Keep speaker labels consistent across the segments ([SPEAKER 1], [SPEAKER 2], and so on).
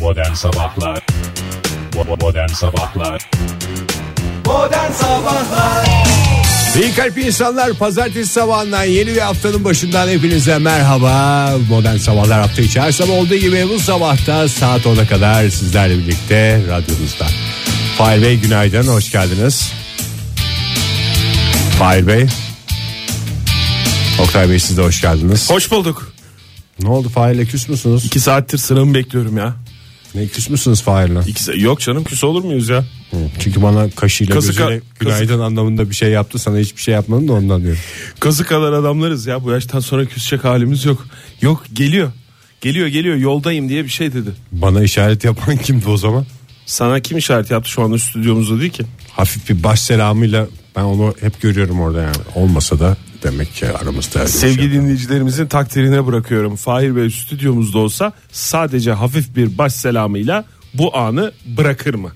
[SPEAKER 1] Modern Sabahlar Bo- Modern Sabahlar
[SPEAKER 2] Modern Sabahlar
[SPEAKER 3] İyi kalp insanlar pazartesi sabahından yeni bir haftanın başından hepinize merhaba. Modern Sabahlar hafta içi her sabah olduğu gibi bu sabahta saat 10'a kadar sizlerle birlikte radyomuzda. Fahir Bey günaydın hoş geldiniz. Fahir Bey. Oktay Bey siz de hoş geldiniz.
[SPEAKER 4] Hoş bulduk.
[SPEAKER 3] Ne oldu Fahir'le küs müsünüz?
[SPEAKER 4] İki saattir sıramı bekliyorum ya.
[SPEAKER 3] Ne küs müsünüz Fahir'le?
[SPEAKER 4] İki sa- Yok canım küs olur muyuz ya?
[SPEAKER 3] Çünkü bana kaşıyla
[SPEAKER 4] Kazık-
[SPEAKER 3] gözüyle günaydın anlamında bir şey yaptı sana hiçbir şey yapmadım da ondan diyorum.
[SPEAKER 4] Kazı kadar adamlarız ya bu yaştan sonra küsecek halimiz yok. Yok geliyor. Geliyor geliyor yoldayım diye bir şey dedi.
[SPEAKER 3] Bana işaret yapan kimdi o zaman?
[SPEAKER 4] Sana kim işaret yaptı şu anda stüdyomuzda değil ki?
[SPEAKER 3] hafif bir baş selamıyla ben onu hep görüyorum orada yani. Olmasa da demek ki aramızda öyle bir şey
[SPEAKER 4] Sevgili
[SPEAKER 3] yok.
[SPEAKER 4] dinleyicilerimizin takdirine bırakıyorum. Fahir Bey stüdyomuzda olsa sadece hafif bir baş selamıyla bu anı bırakır mı?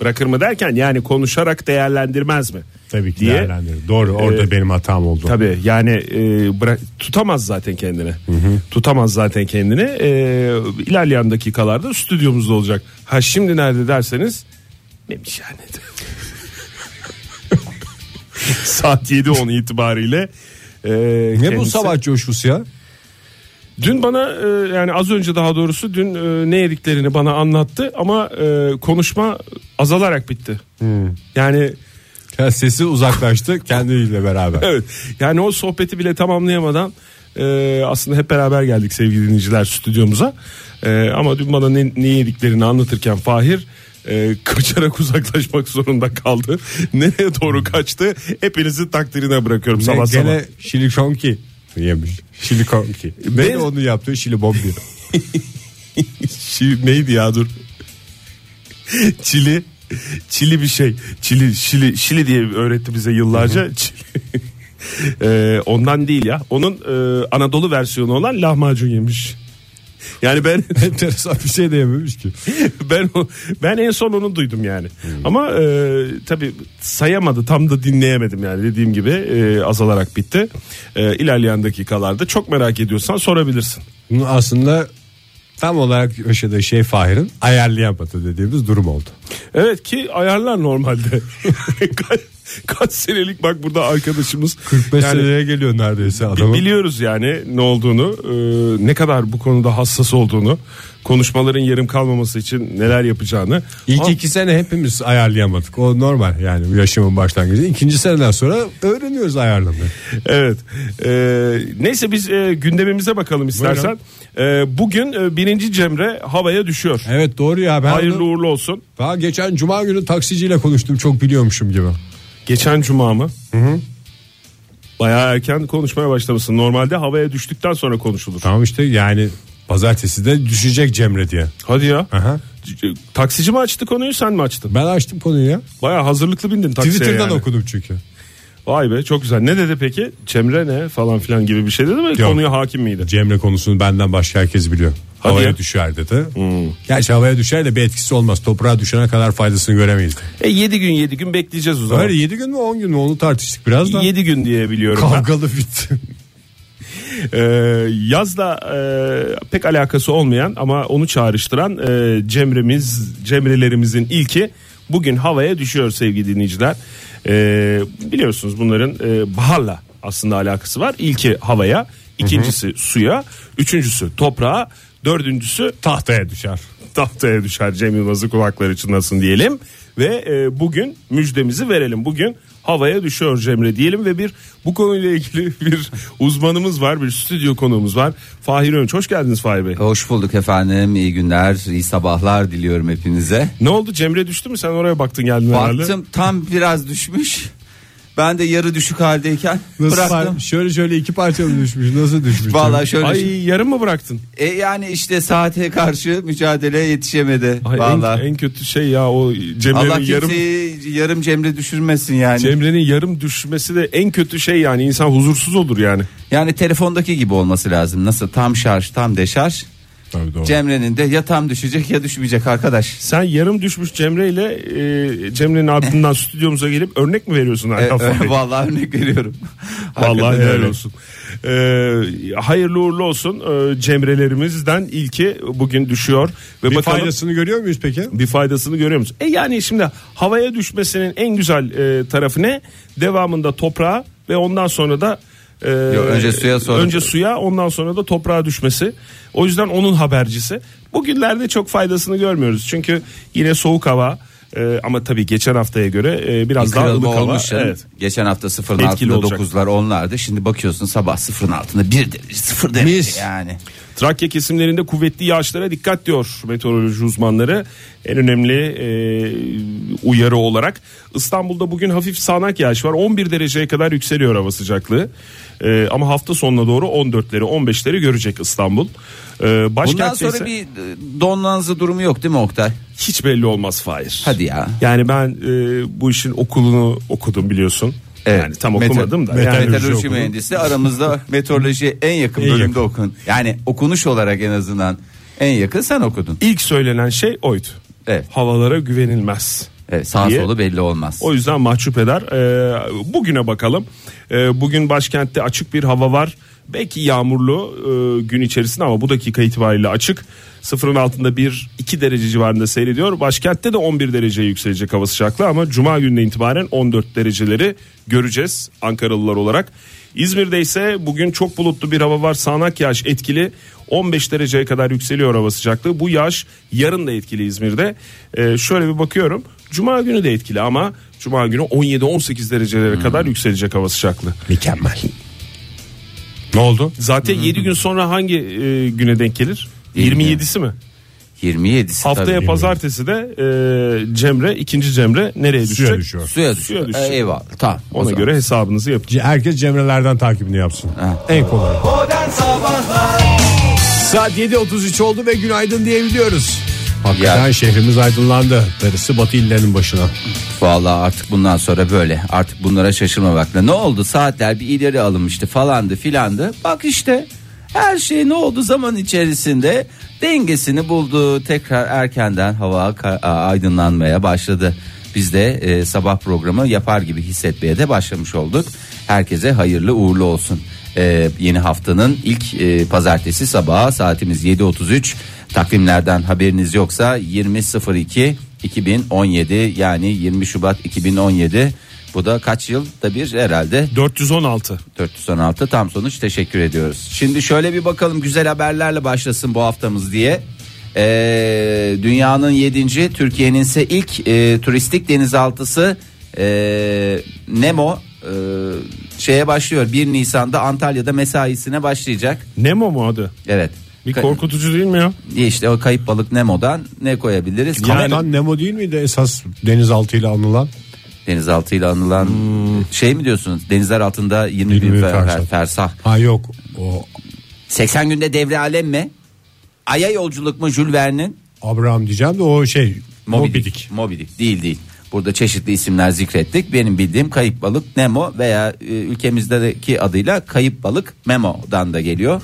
[SPEAKER 4] Bırakır mı derken yani konuşarak değerlendirmez mi?
[SPEAKER 3] tabii ki
[SPEAKER 4] diye-
[SPEAKER 3] değerlendirir. Doğru orada
[SPEAKER 4] Ee,
[SPEAKER 3] benim hatam oldu.
[SPEAKER 4] Tabii yani e, bıra- tutamaz zaten kendini. Tutamaz zaten kendini. E, ilerleyen dakikalarda stüdyomuzda olacak. Ha şimdi nerede derseniz neymiş yani. Saat 7.10 itibariyle e,
[SPEAKER 3] Ne bu
[SPEAKER 4] kendisi-
[SPEAKER 3] sabah coşkusu ya?
[SPEAKER 4] Dün bana e, yani az önce daha doğrusu dün e, ne yediklerini bana anlattı ama e, konuşma azalarak bitti. Yani
[SPEAKER 3] Ya sesi uzaklaştı kendiyle beraber.
[SPEAKER 4] Evet. Yani o sohbeti bile tamamlayamadan e, aslında hep beraber geldik sevgili dinleyiciler stüdyomuza. E, ama dün bana ne, ne yediklerini anlatırken Fahir e, kaçarak uzaklaşmak zorunda kaldı. Nereye doğru kaçtı? Hepinizi takdirine bırakıyorum
[SPEAKER 3] Sabah
[SPEAKER 4] sabah sabah.
[SPEAKER 3] gene şilikonki yemiş. Şilikonki. Ben
[SPEAKER 4] Ben-
[SPEAKER 3] onu yaptı şilibombi.
[SPEAKER 4] Şi- neydi ya dur. Çili. Çili bir şey. Çili, Şili, Şili diye öğretti bize yıllarca. Çili. Ee, ondan değil ya. Onun e, Anadolu versiyonu olan lahmacun yemiş. Yani ben
[SPEAKER 3] Enteresan bir şey de yememiş ki.
[SPEAKER 4] ben o- ben en son onu duydum yani.
[SPEAKER 3] Hmm.
[SPEAKER 4] Ama e, tabi sayamadı tam da dinleyemedim yani dediğim gibi e, azalarak bitti. E, ilerleyen dakikalarda çok merak ediyorsan sorabilirsin.
[SPEAKER 3] Bunu aslında tam olarak yaşadığı şey Fahir'in ayarlayamadı dediğimiz durum oldu.
[SPEAKER 4] Evet ki ayarlar normalde. Ka- Kaç senelik bak burada arkadaşımız
[SPEAKER 3] 45
[SPEAKER 4] yani
[SPEAKER 3] seneye geliyor neredeyse
[SPEAKER 4] bi-
[SPEAKER 3] adamın.
[SPEAKER 4] biliyoruz yani ne olduğunu, e, ne kadar bu konuda hassas olduğunu, konuşmaların yarım kalmaması için neler yapacağını.
[SPEAKER 3] İlk
[SPEAKER 4] Ama-
[SPEAKER 3] iki sene hepimiz ayarlayamadık. O normal yani bu yaşamın başlangıcı. İkinci seneden sonra öğreniyoruz ayarlamayı.
[SPEAKER 4] Evet. Ee, neyse biz e, gündemimize bakalım istersen. Ee, bugün e, birinci Cemre havaya düşüyor.
[SPEAKER 3] Evet doğru ya ben
[SPEAKER 4] Hayırlı
[SPEAKER 3] onu-
[SPEAKER 4] uğurlu olsun.
[SPEAKER 3] daha geçen cuma günü taksiciyle konuştum çok biliyormuşum gibi.
[SPEAKER 4] Geçen cuma mı? Bayağı erken konuşmaya başlamışsın. Normalde havaya düştükten sonra konuşulur.
[SPEAKER 3] Tamam işte yani pazartesi de düşecek Cemre diye.
[SPEAKER 4] Hadi ya.
[SPEAKER 3] Aha.
[SPEAKER 4] C- c- Taksici mi açtı konuyu sen mi açtın?
[SPEAKER 3] Ben açtım konuyu ya.
[SPEAKER 4] Bayağı hazırlıklı bindin taksiye
[SPEAKER 3] Twitter'dan
[SPEAKER 4] yani.
[SPEAKER 3] okudum çünkü.
[SPEAKER 4] Vay be çok güzel. Ne dedi peki? Cemre ne falan filan gibi bir şey dedi mi? Konuya hakim miydi?
[SPEAKER 3] Cemre konusunu benden başka herkes biliyor.
[SPEAKER 4] Hadi
[SPEAKER 3] havaya
[SPEAKER 4] ya.
[SPEAKER 3] düşer dedi. Gerçi havaya düşer de bir etkisi olmaz. Toprağa düşene kadar faydasını göremeyiz.
[SPEAKER 4] E 7 gün 7 gün bekleyeceğiz o zaman.
[SPEAKER 3] Öyle 7 gün mü 10 gün mü onu tartıştık biraz da.
[SPEAKER 4] 7 gün diye biliyorum. ben.
[SPEAKER 3] Kavgalı bitti.
[SPEAKER 4] Ee, yazla e, pek alakası olmayan ama onu çağrıştıran e, Cemre'miz Cemre'lerimizin ilki bugün havaya düşüyor sevgili dinleyiciler. Ee, biliyorsunuz bunların e, baharla aslında alakası var. İlki havaya, ikincisi suya, üçüncüsü toprağa, dördüncüsü
[SPEAKER 3] Tahtaya düşer.
[SPEAKER 4] tahtaya düşer Cem Yılmaz'ı kulakları çınlasın diyelim. Ve e, bugün müjdemizi verelim. Bugün havaya düşüyor Cemre diyelim ve bir bu konuyla ilgili bir uzmanımız var, bir stüdyo konuğumuz var. Fahir Önç hoş geldiniz Fahir Bey.
[SPEAKER 2] Hoş bulduk efendim iyi günler iyi sabahlar diliyorum hepinize
[SPEAKER 4] Ne oldu Cemre düştü mü sen oraya baktın geldin herhalde.
[SPEAKER 2] Baktım tam biraz düşmüş Ben de yarı düşük haldeyken
[SPEAKER 3] Nasıl
[SPEAKER 2] bıraktım
[SPEAKER 3] par- şöyle şöyle iki parça mı düşmüş? Nasıl düşmüş?
[SPEAKER 2] Vallahi şöyle
[SPEAKER 4] Ay yarım mı bıraktın?
[SPEAKER 2] E yani işte saate karşı mücadeleye yetişemedi
[SPEAKER 4] Ay, en,
[SPEAKER 2] Vallahi
[SPEAKER 4] en kötü şey ya o
[SPEAKER 2] Allah
[SPEAKER 4] Cemre'nin yarım
[SPEAKER 2] kimseyi yarım... cemre düşürmesin yani
[SPEAKER 4] Cemre'nin yarım düşmesi de en kötü şey yani insan huzursuz olur yani.
[SPEAKER 2] Yani telefondaki gibi olması lazım Nasıl tam şarj tam deşarj
[SPEAKER 3] Tabii doğru.
[SPEAKER 2] Cemre'nin de ya tam düşecek ya düşmeyecek arkadaş.
[SPEAKER 4] Sen yarım düşmüş Cemre ile e, Cemre'nin ardından stüdyomuza gelip örnek mi veriyorsun?
[SPEAKER 2] E,
[SPEAKER 4] Arda
[SPEAKER 2] e,
[SPEAKER 4] Fahri?
[SPEAKER 2] vallahi örnek veriyorum.
[SPEAKER 4] Vallahi
[SPEAKER 2] Hakikaten
[SPEAKER 4] helal
[SPEAKER 2] öyle.
[SPEAKER 4] olsun. Ee, hayırlı uğurlu olsun. Ee, cemrelerimizden ilki bugün düşüyor ve
[SPEAKER 3] Bir
[SPEAKER 4] bakalım
[SPEAKER 3] faydasını görüyor muyuz peki?
[SPEAKER 4] bir faydasını görüyor musun? E yani şimdi havaya düşmesinin en güzel e, tarafı ne? Devamında toprağa ve ondan sonra da e,
[SPEAKER 2] önce suya, sonra-
[SPEAKER 4] önce suya ondan sonra da toprağa düşmesi. O yüzden onun habercisi. Bugünlerde çok faydasını görmüyoruz. Çünkü yine soğuk hava e, ama tabii geçen haftaya göre e, biraz daha
[SPEAKER 2] Kırılma
[SPEAKER 4] ılık hava.
[SPEAKER 2] olmuş canım.
[SPEAKER 4] Evet.
[SPEAKER 2] Geçen hafta sıfırın
[SPEAKER 4] Etkili
[SPEAKER 2] altında
[SPEAKER 4] olacak.
[SPEAKER 2] dokuzlar onlardı. Şimdi bakıyorsun sabah sıfırın altında bir derece sıfır derece yani.
[SPEAKER 4] Trakya kesimlerinde kuvvetli yağışlara dikkat diyor meteoroloji uzmanları. En önemli e, uyarı olarak İstanbul'da bugün hafif sağanak yağış var. 11 dereceye kadar yükseliyor hava sıcaklığı. E, ama hafta sonuna doğru 14'leri 15'leri görecek İstanbul. E,
[SPEAKER 2] Bundan
[SPEAKER 4] başkentte ise
[SPEAKER 2] sonra bir e, donlanza durumu yok değil mi Oktay?
[SPEAKER 4] hiç belli olmaz Fahir.
[SPEAKER 2] Hadi ya.
[SPEAKER 4] Yani ben e, bu işin okulunu okudum biliyorsun.
[SPEAKER 2] Evet.
[SPEAKER 4] Yani tam
[SPEAKER 2] Mete-
[SPEAKER 4] okumadım da.
[SPEAKER 2] Mete-
[SPEAKER 4] Yani-
[SPEAKER 2] meteoroloji mühendisi aramızda meteorolojiye en yakın bölümde okun. Yani okunuş olarak en azından en yakın sen okudun.
[SPEAKER 4] İlk söylenen şey oydu.
[SPEAKER 2] Evet.
[SPEAKER 4] Havalara güvenilmez.
[SPEAKER 2] Evet, sağ
[SPEAKER 4] diye.
[SPEAKER 2] solu belli olmaz.
[SPEAKER 4] O yüzden mahcup eder. Ee, bugüne bakalım. Ee, bugün başkentte açık bir hava var. Belki yağmurlu e, gün içerisinde ama bu dakika itibariyle açık. Sıfırın altında 1-2 derece civarında seyrediyor. Başkentte de 11 dereceye yükselecek hava sıcaklığı ama Cuma gününe itibaren 14 dereceleri göreceğiz Ankaralılar olarak. İzmir'de ise bugün çok bulutlu bir hava var. Sağanak yağış etkili. 15 dereceye kadar yükseliyor hava sıcaklığı. Bu yağış yarın da etkili İzmir'de. Ee, şöyle bir bakıyorum. Cuma günü de etkili ama Cuma günü 17-18 derecelere
[SPEAKER 2] Hmm.
[SPEAKER 4] kadar yükselecek hava sıcaklığı.
[SPEAKER 3] Mükemmel. Ne oldu?
[SPEAKER 4] Zaten
[SPEAKER 2] Hmm.
[SPEAKER 4] 7 gün sonra hangi e, güne denk gelir?
[SPEAKER 2] Yirmi.
[SPEAKER 4] 27'si mi?
[SPEAKER 2] 27'si
[SPEAKER 4] Haftaya
[SPEAKER 2] tabii.
[SPEAKER 4] pazartesi de e, Cemre, ikinci Cemre nereye düşecek?
[SPEAKER 3] Suya düşüyor.
[SPEAKER 2] Suya
[SPEAKER 4] Suya
[SPEAKER 2] düşüyor.
[SPEAKER 4] düşüyor.
[SPEAKER 2] E, eyvallah. Tamam. o
[SPEAKER 4] Ona
[SPEAKER 2] zaman.
[SPEAKER 4] göre hesabınızı yapın.
[SPEAKER 3] C- Herkes Cemre'lerden takibini yapsın.
[SPEAKER 2] Ha.
[SPEAKER 3] En kolay. Saat 7.33 oldu ve günaydın diyebiliyoruz. Hakikaten
[SPEAKER 2] Ya.
[SPEAKER 3] şehrimiz aydınlandı. Darısı batı illerinin başına.
[SPEAKER 2] Vallahi artık bundan sonra böyle. Artık bunlara şaşırmamak lazım. Ne oldu? Saatler bir ileri alınmıştı falandı filandı. Bak işte her şey ne oldu zaman içerisinde dengesini buldu. Tekrar erkenden hava ka- a- aydınlanmaya başladı. Biz de e, sabah programı yapar gibi hissetmeye de başlamış olduk. Herkese hayırlı uğurlu olsun. E, yeni haftanın ilk e, pazartesi sabahı saatimiz 7.33. Takvimlerden haberiniz yoksa 20.02 2017 yani 20 Şubat 2017 bu da kaç yılda bir herhalde
[SPEAKER 4] 416.
[SPEAKER 2] 416 tam sonuç teşekkür ediyoruz. Şimdi şöyle bir bakalım güzel haberlerle başlasın bu haftamız diye. Ee, dünyanın 7. Türkiye'nin ise ilk e, turistik denizaltısı e, Nemo e, şeye başlıyor 1 Nisan'da Antalya'da mesaisine başlayacak.
[SPEAKER 4] Nemo mu adı?
[SPEAKER 2] Evet.
[SPEAKER 4] Bir
[SPEAKER 2] Ka-
[SPEAKER 4] korkutucu değil mi ya?
[SPEAKER 2] işte o kayıp balık Nemo'dan ne koyabiliriz?
[SPEAKER 3] Kaptan Nemo değil miydi esas denizaltıyla anılan?
[SPEAKER 2] denizaltıyla anılan şey mi diyorsunuz? Denizler altında 20,
[SPEAKER 3] Yirmi
[SPEAKER 2] bin
[SPEAKER 3] bin
[SPEAKER 2] fer-
[SPEAKER 3] fersah.
[SPEAKER 2] fersah.
[SPEAKER 3] Ha yok. O
[SPEAKER 2] 80 günde devre alem mi? Aya yolculuk mu Jules Verne'in?
[SPEAKER 3] Abraham diyeceğim de o şey Moby Dick.
[SPEAKER 2] Moby Dick. değil değil. Burada çeşitli isimler zikrettik. Benim bildiğim kayıp balık Nemo veya e, ülkemizdeki adıyla kayıp balık Memo'dan da geliyor.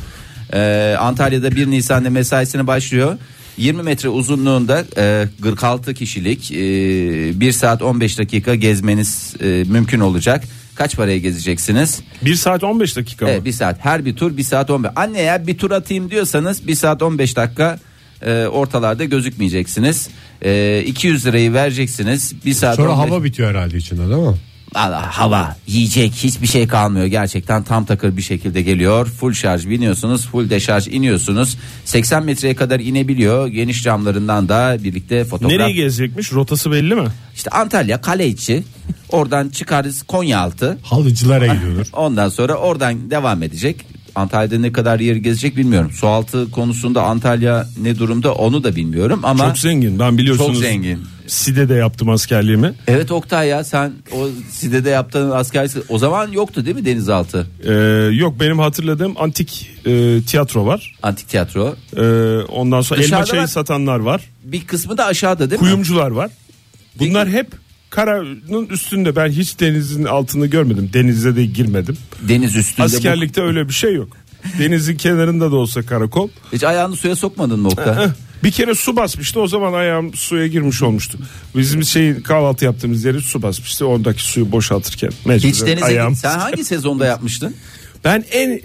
[SPEAKER 2] Ee, Antalya'da 1 Nisan'da mesaisine başlıyor. 20 metre uzunluğunda e, 46 kişilik e, 1 saat 15 dakika gezmeniz e, mümkün olacak. Kaç paraya gezeceksiniz?
[SPEAKER 4] 1 saat 15 dakika mı?
[SPEAKER 2] Evet bir saat her bir tur bir saat 15. Anne ya bir tur atayım diyorsanız bir saat 15 dakika e, ortalarda gözükmeyeceksiniz. E, 200 lirayı vereceksiniz. Bir saat
[SPEAKER 3] Sonra
[SPEAKER 2] 15
[SPEAKER 3] hava bitiyor herhalde içinde değil mi?
[SPEAKER 2] Valla hava, yiyecek hiçbir şey kalmıyor. Gerçekten tam takır bir şekilde geliyor. Full şarj biniyorsunuz, full deşarj iniyorsunuz. 80 metreye kadar inebiliyor. Geniş camlarından da birlikte fotoğraf.
[SPEAKER 4] Nereye gezecekmiş? Rotası belli mi?
[SPEAKER 2] İşte Antalya, Kaleiçi. Oradan çıkarız Konyaaltı.
[SPEAKER 3] Halıcılara gidiyordur.
[SPEAKER 2] Ondan sonra oradan devam edecek. Antalya'da ne kadar yer gezecek bilmiyorum. Sualtı konusunda Antalya ne durumda onu da bilmiyorum ama
[SPEAKER 4] Çok zengin. Ben biliyorsunuz.
[SPEAKER 2] Çok zengin.
[SPEAKER 4] Side'de yaptım askerliğimi.
[SPEAKER 2] Evet Oktay ya sen o Side'de yaptığın askerlik o zaman yoktu değil mi denizaltı?
[SPEAKER 4] Ee, yok benim hatırladığım antik e, tiyatro var.
[SPEAKER 2] Antik tiyatro.
[SPEAKER 4] Ee, ondan sonra
[SPEAKER 2] Dışarıda
[SPEAKER 4] elma çayı
[SPEAKER 2] var.
[SPEAKER 4] satanlar var.
[SPEAKER 2] Bir kısmı da aşağıda değil mi?
[SPEAKER 4] Kuyumcular var. Bunlar hep karanın üstünde. Ben hiç denizin altını görmedim. Denize de girmedim.
[SPEAKER 2] Deniz üstünde. bu-
[SPEAKER 4] Askerlikte öyle bir şey yok. Denizin kenarında da olsa karakol.
[SPEAKER 2] Hiç ayağını suya sokmadın nokta.
[SPEAKER 4] Eh, Bir kere su basmıştı o zaman ayağım suya girmiş olmuştu. Bizim şey kahvaltı yaptığımız yeri su basmıştı. Oradaki suyu boşaltırken mecburen
[SPEAKER 2] Hiç denize
[SPEAKER 4] ayağım.
[SPEAKER 2] git. Sen hangi sezonda yapmıştın?
[SPEAKER 4] Ben en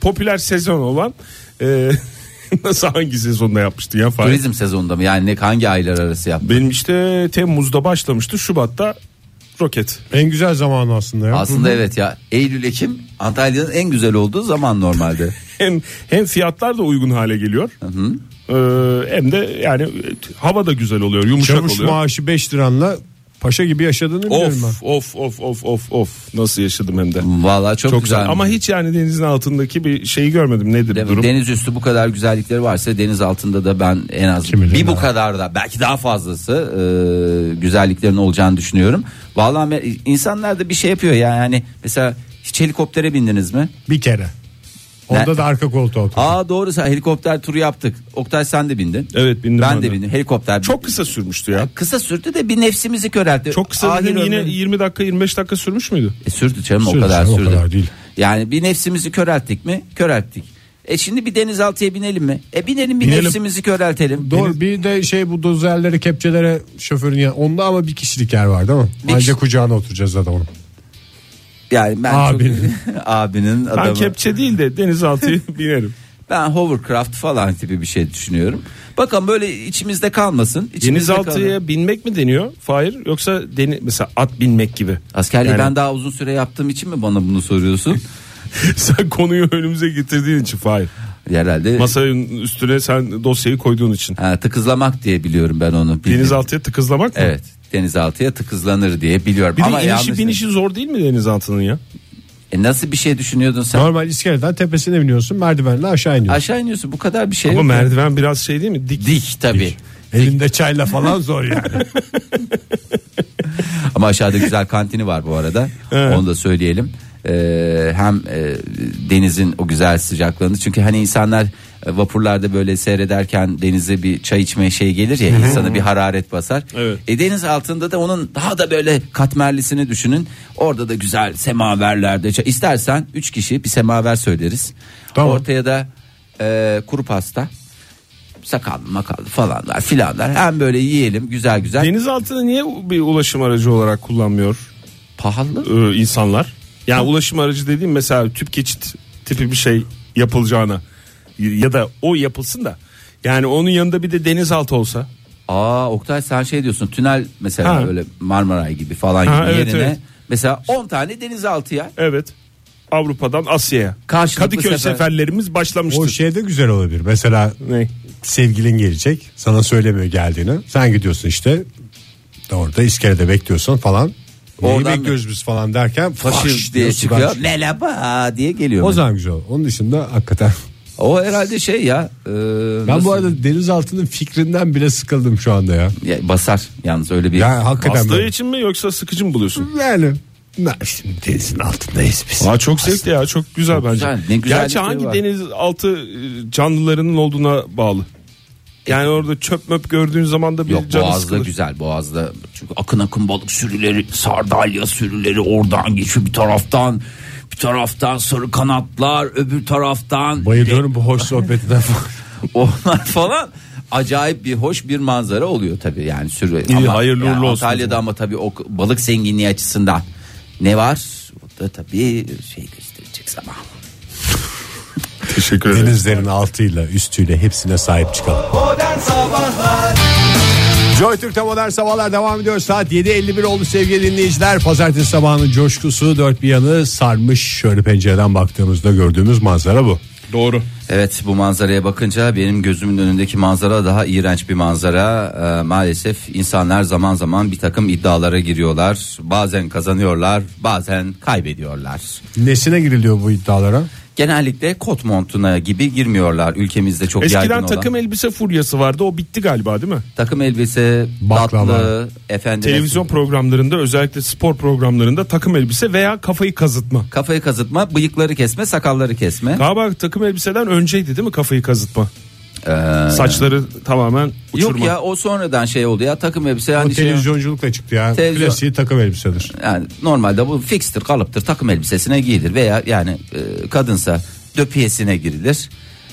[SPEAKER 4] popüler sezon olan e, nasıl hangi sezonda yapmıştı ya Fahir?
[SPEAKER 2] Turizm sezonunda mı? Yani ne hangi aylar arası yaptın?
[SPEAKER 4] Benim işte Temmuz'da başlamıştı Şubat'ta roket.
[SPEAKER 3] En güzel zamanı aslında ya.
[SPEAKER 2] Aslında evet ya. Eylül Ekim Antalya'nın en güzel olduğu zaman normalde.
[SPEAKER 4] Hem hem fiyatlar da uygun hale geliyor. Ee, hem de yani e, hava da güzel oluyor, yumuşak
[SPEAKER 3] Çavuş
[SPEAKER 4] oluyor.
[SPEAKER 3] maaşı 5 liranla paşa gibi yaşadığını biliyorum ben.
[SPEAKER 4] Of of of of of of nasıl yaşadım hem de.
[SPEAKER 2] Vallahi çok,
[SPEAKER 4] Çok
[SPEAKER 2] güzel.
[SPEAKER 4] güzel. Ama hiç yani denizin altındaki bir şeyi görmedim. Nedir
[SPEAKER 2] Değil mi?
[SPEAKER 4] durum?
[SPEAKER 2] Deniz üstü bu kadar güzellikleri varsa deniz altında da ben en az
[SPEAKER 3] Kim bilir
[SPEAKER 2] bir bu
[SPEAKER 3] daha.
[SPEAKER 2] kadar da belki daha fazlası e, güzelliklerin olacağını düşünüyorum. Vallahi me- insanlar da bir şey yapıyor ya yani mesela hiç helikoptere bindiniz mi?
[SPEAKER 3] Bir kere. Onda
[SPEAKER 2] Ne?
[SPEAKER 3] da arka koltuğa otur.
[SPEAKER 2] Aa doğru sen helikopter turu yaptık. Oktay sen de bindin.
[SPEAKER 4] Evet, bindim
[SPEAKER 2] Ben
[SPEAKER 4] ben
[SPEAKER 2] de
[SPEAKER 4] de.
[SPEAKER 2] bindim helikopter.
[SPEAKER 4] Çok kısa sürmüştü ya.
[SPEAKER 2] kısa sürdü de bir nefsimizi köreltti.
[SPEAKER 4] Çok kısa
[SPEAKER 2] Ahir
[SPEAKER 4] dedim, yine
[SPEAKER 2] ömrüm.
[SPEAKER 4] 20 dakika 25 dakika sürmüş müydü?
[SPEAKER 2] E sürdü canım
[SPEAKER 3] Sürdü
[SPEAKER 2] o kadar
[SPEAKER 3] canım, o
[SPEAKER 2] sürdü.
[SPEAKER 3] kadar değil.
[SPEAKER 2] Yani bir nefsimizi körelttik mi? Körelttik. E şimdi bir denizaltıya binelim mi? E binelim bir
[SPEAKER 3] Binelim.
[SPEAKER 2] nefsimiz köreltelim.
[SPEAKER 3] Doğru bir de şey bu dozerleri kepçelere şoförün ya onda ama bir kişilik yer var değil mi?
[SPEAKER 2] Bir
[SPEAKER 3] Ayrıca
[SPEAKER 2] kişi-
[SPEAKER 3] kucağına oturacağız adamın.
[SPEAKER 2] Yani ben
[SPEAKER 3] Abinin.
[SPEAKER 2] çok abinin adamı.
[SPEAKER 4] Ben
[SPEAKER 2] Ben,
[SPEAKER 4] kepçe değil de denizaltıyı binerim.
[SPEAKER 2] hovercraft falan tipi bir şey düşünüyorum. Bakın böyle içimizde kalmasın. İçimizde kalır.
[SPEAKER 4] Denizaltıya binmek mi deniyor? Fahir yoksa deni mesela at binmek gibi.
[SPEAKER 2] Askerliği
[SPEAKER 4] Yani-
[SPEAKER 2] ben daha uzun süre yaptığım için mi bana bunu soruyorsun?
[SPEAKER 4] Sen konuyu önümüze getirdiğin için Fahir.
[SPEAKER 2] Herhalde
[SPEAKER 4] Masanın üstüne sen dosyayı koyduğun için.
[SPEAKER 2] ha, tıkızlamak diye biliyorum ben onu. Bildiğim-
[SPEAKER 4] Denizaltıya tıkızlamak mı?
[SPEAKER 2] Evet denizaltıya tıkızlanır diye biliyorum.
[SPEAKER 4] Bir de
[SPEAKER 2] Ama
[SPEAKER 4] inişi
[SPEAKER 2] yanlış-
[SPEAKER 4] binişi zor değil mi denizaltının ya?
[SPEAKER 2] E, nasıl bir şey düşünüyordun sen?
[SPEAKER 3] Normal iskeleden tepesine biniyorsun merdivenle aşağı iniyorsun.
[SPEAKER 2] Aşağı iniyorsun bu kadar bir şey.
[SPEAKER 4] Ama
[SPEAKER 2] yok.
[SPEAKER 4] merdiven biraz şey değil mi? Dik.
[SPEAKER 2] Dik tabii.
[SPEAKER 3] Elinde çayla falan zor yani.
[SPEAKER 2] Ama aşağıda güzel kantini var bu arada. Onu da söyleyelim. Ee, hem e, denizin o güzel sıcaklığını çünkü hani insanlar e, vapurlarda böyle seyrederken denize bir çay içme şey gelir ya insana bir hararet basar.
[SPEAKER 4] Evet.
[SPEAKER 2] E, deniz altında da onun daha da böyle katmerlisini düşünün. Orada da güzel semaverlerde çay. istersen 3 kişi bir semaver söyleriz.
[SPEAKER 3] Tamam.
[SPEAKER 2] Ortaya da e, kuru pasta sakal makal falanlar filanlar hem böyle yiyelim güzel güzel
[SPEAKER 4] Denizaltını niye bir ulaşım aracı olarak kullanmıyor
[SPEAKER 2] pahalı
[SPEAKER 4] e, insanlar? Yani ulaşım aracı dediğim mesela tüp geçit tipi bir şey yapılacağına ya da o yapılsın da yani onun yanında bir de denizaltı olsa
[SPEAKER 2] Aa Oktay sen şey diyorsun tünel mesela
[SPEAKER 4] Ha.
[SPEAKER 2] böyle Marmaray gibi falan
[SPEAKER 4] Ha,
[SPEAKER 2] gibi
[SPEAKER 4] evet,
[SPEAKER 2] yerine
[SPEAKER 4] evet.
[SPEAKER 2] mesela 10 tane denizaltıya
[SPEAKER 4] Evet. Avrupa'dan Asya'ya.
[SPEAKER 2] Karşılıklı
[SPEAKER 4] Kadıköy
[SPEAKER 2] sefer-
[SPEAKER 4] seferlerimiz başlamıştır.
[SPEAKER 3] o şey de güzel olabilir. Mesela
[SPEAKER 4] Ne?
[SPEAKER 3] sevgilin gelecek sana söylemiyor geldiğini. Sen gidiyorsun işte orada iskelede bekliyorsun falan. Neyi
[SPEAKER 2] Oradan-
[SPEAKER 3] bekliyoruz biz falan derken
[SPEAKER 2] faşır
[SPEAKER 3] faş
[SPEAKER 2] diye
[SPEAKER 3] diyorsun,
[SPEAKER 2] çıkıyor.
[SPEAKER 3] ben-
[SPEAKER 2] Merhaba diye geliyor.
[SPEAKER 3] O
[SPEAKER 2] O,
[SPEAKER 3] zaman güzel. olur. Onun dışında hakikaten.
[SPEAKER 2] herhalde şey ya. e,
[SPEAKER 3] Ben
[SPEAKER 2] nasıl-
[SPEAKER 3] bu arada denizaltının fikrinden bile sıkıldım şu anda ya.
[SPEAKER 2] Ya, basar yalnız öyle bir.
[SPEAKER 3] Yani hakikaten
[SPEAKER 4] Hastalığı
[SPEAKER 3] böyle.
[SPEAKER 4] için mi yoksa sıkıcı mı buluyorsun?
[SPEAKER 3] Yani na, şimdi denizin altındayız biz.
[SPEAKER 4] Aa çok zevkli ya çok güzel bence.
[SPEAKER 2] güzel, ne güzellikleri
[SPEAKER 4] Gerçi hangi
[SPEAKER 2] var.
[SPEAKER 4] denizaltı e, canlılarının olduğuna bağlı. Yani orada çöp möp gördüğün zaman da bir
[SPEAKER 2] E- Yok
[SPEAKER 4] canı
[SPEAKER 2] Boğaz'da
[SPEAKER 4] sıkılır.
[SPEAKER 2] güzel Boğaz'da çünkü akın akın balık sürüleri sardalya sürüleri oradan geçiyor bir taraftan bir taraftan sarı kanatlar öbür taraftan
[SPEAKER 3] Bayılıyorum bu hoş sohbetinden.
[SPEAKER 2] onlar falan acayip bir hoş bir manzara oluyor tabii yani sürü
[SPEAKER 4] İyi, hayırlı
[SPEAKER 2] yani
[SPEAKER 4] uğurlu olsun.
[SPEAKER 2] Antalya'da ama tabii o k- balık zenginliği açısından ne var? O da tabii şey gösterecek zaman.
[SPEAKER 4] Teşekkür ederim.
[SPEAKER 3] Denizlerin altıyla üstüyle hepsine sahip çıkalım. Joy Türk'te modern sabahlar devam ediyor. Saat 7.51 oldu sevgili dinleyiciler. Pazartesi sabahının coşkusu dört bir yanı sarmış. Şöyle pencereden baktığımızda gördüğümüz manzara bu.
[SPEAKER 4] Doğru.
[SPEAKER 2] Evet bu manzaraya bakınca benim gözümün önündeki manzara daha iğrenç bir manzara. Ee, maalesef insanlar zaman zaman bir takım iddialara giriyorlar. Bazen kazanıyorlar bazen kaybediyorlar.
[SPEAKER 3] Nesine giriliyor bu iddialara?
[SPEAKER 2] Genellikle kot montuna gibi girmiyorlar ülkemizde çok yaygın
[SPEAKER 4] Eskiden
[SPEAKER 2] olan.
[SPEAKER 4] takım elbise furyası vardı o bitti galiba değil mi?
[SPEAKER 2] Takım elbise,
[SPEAKER 3] Baklava.
[SPEAKER 2] tatlı, efendim.
[SPEAKER 4] Televizyon programlarında özellikle spor programlarında takım elbise veya kafayı kazıtma.
[SPEAKER 2] Kafayı kazıtma, bıyıkları kesme, sakalları kesme.
[SPEAKER 4] Galiba takım elbiseden önceydi değil mi kafayı kazıtma?
[SPEAKER 2] Ee,
[SPEAKER 4] Saçları tamamen uçurma.
[SPEAKER 2] Yok ya o sonradan şey oldu ya takım
[SPEAKER 3] Bu
[SPEAKER 2] elbise yani, şey,
[SPEAKER 3] televizyonculukla çıktı ya.
[SPEAKER 2] Televizyon-
[SPEAKER 3] Klasiği takım elbisedir.
[SPEAKER 2] yani normalde bu fikstir kalıptır takım elbisesine giyilir veya yani e, kadınsa döpiyesine girilir.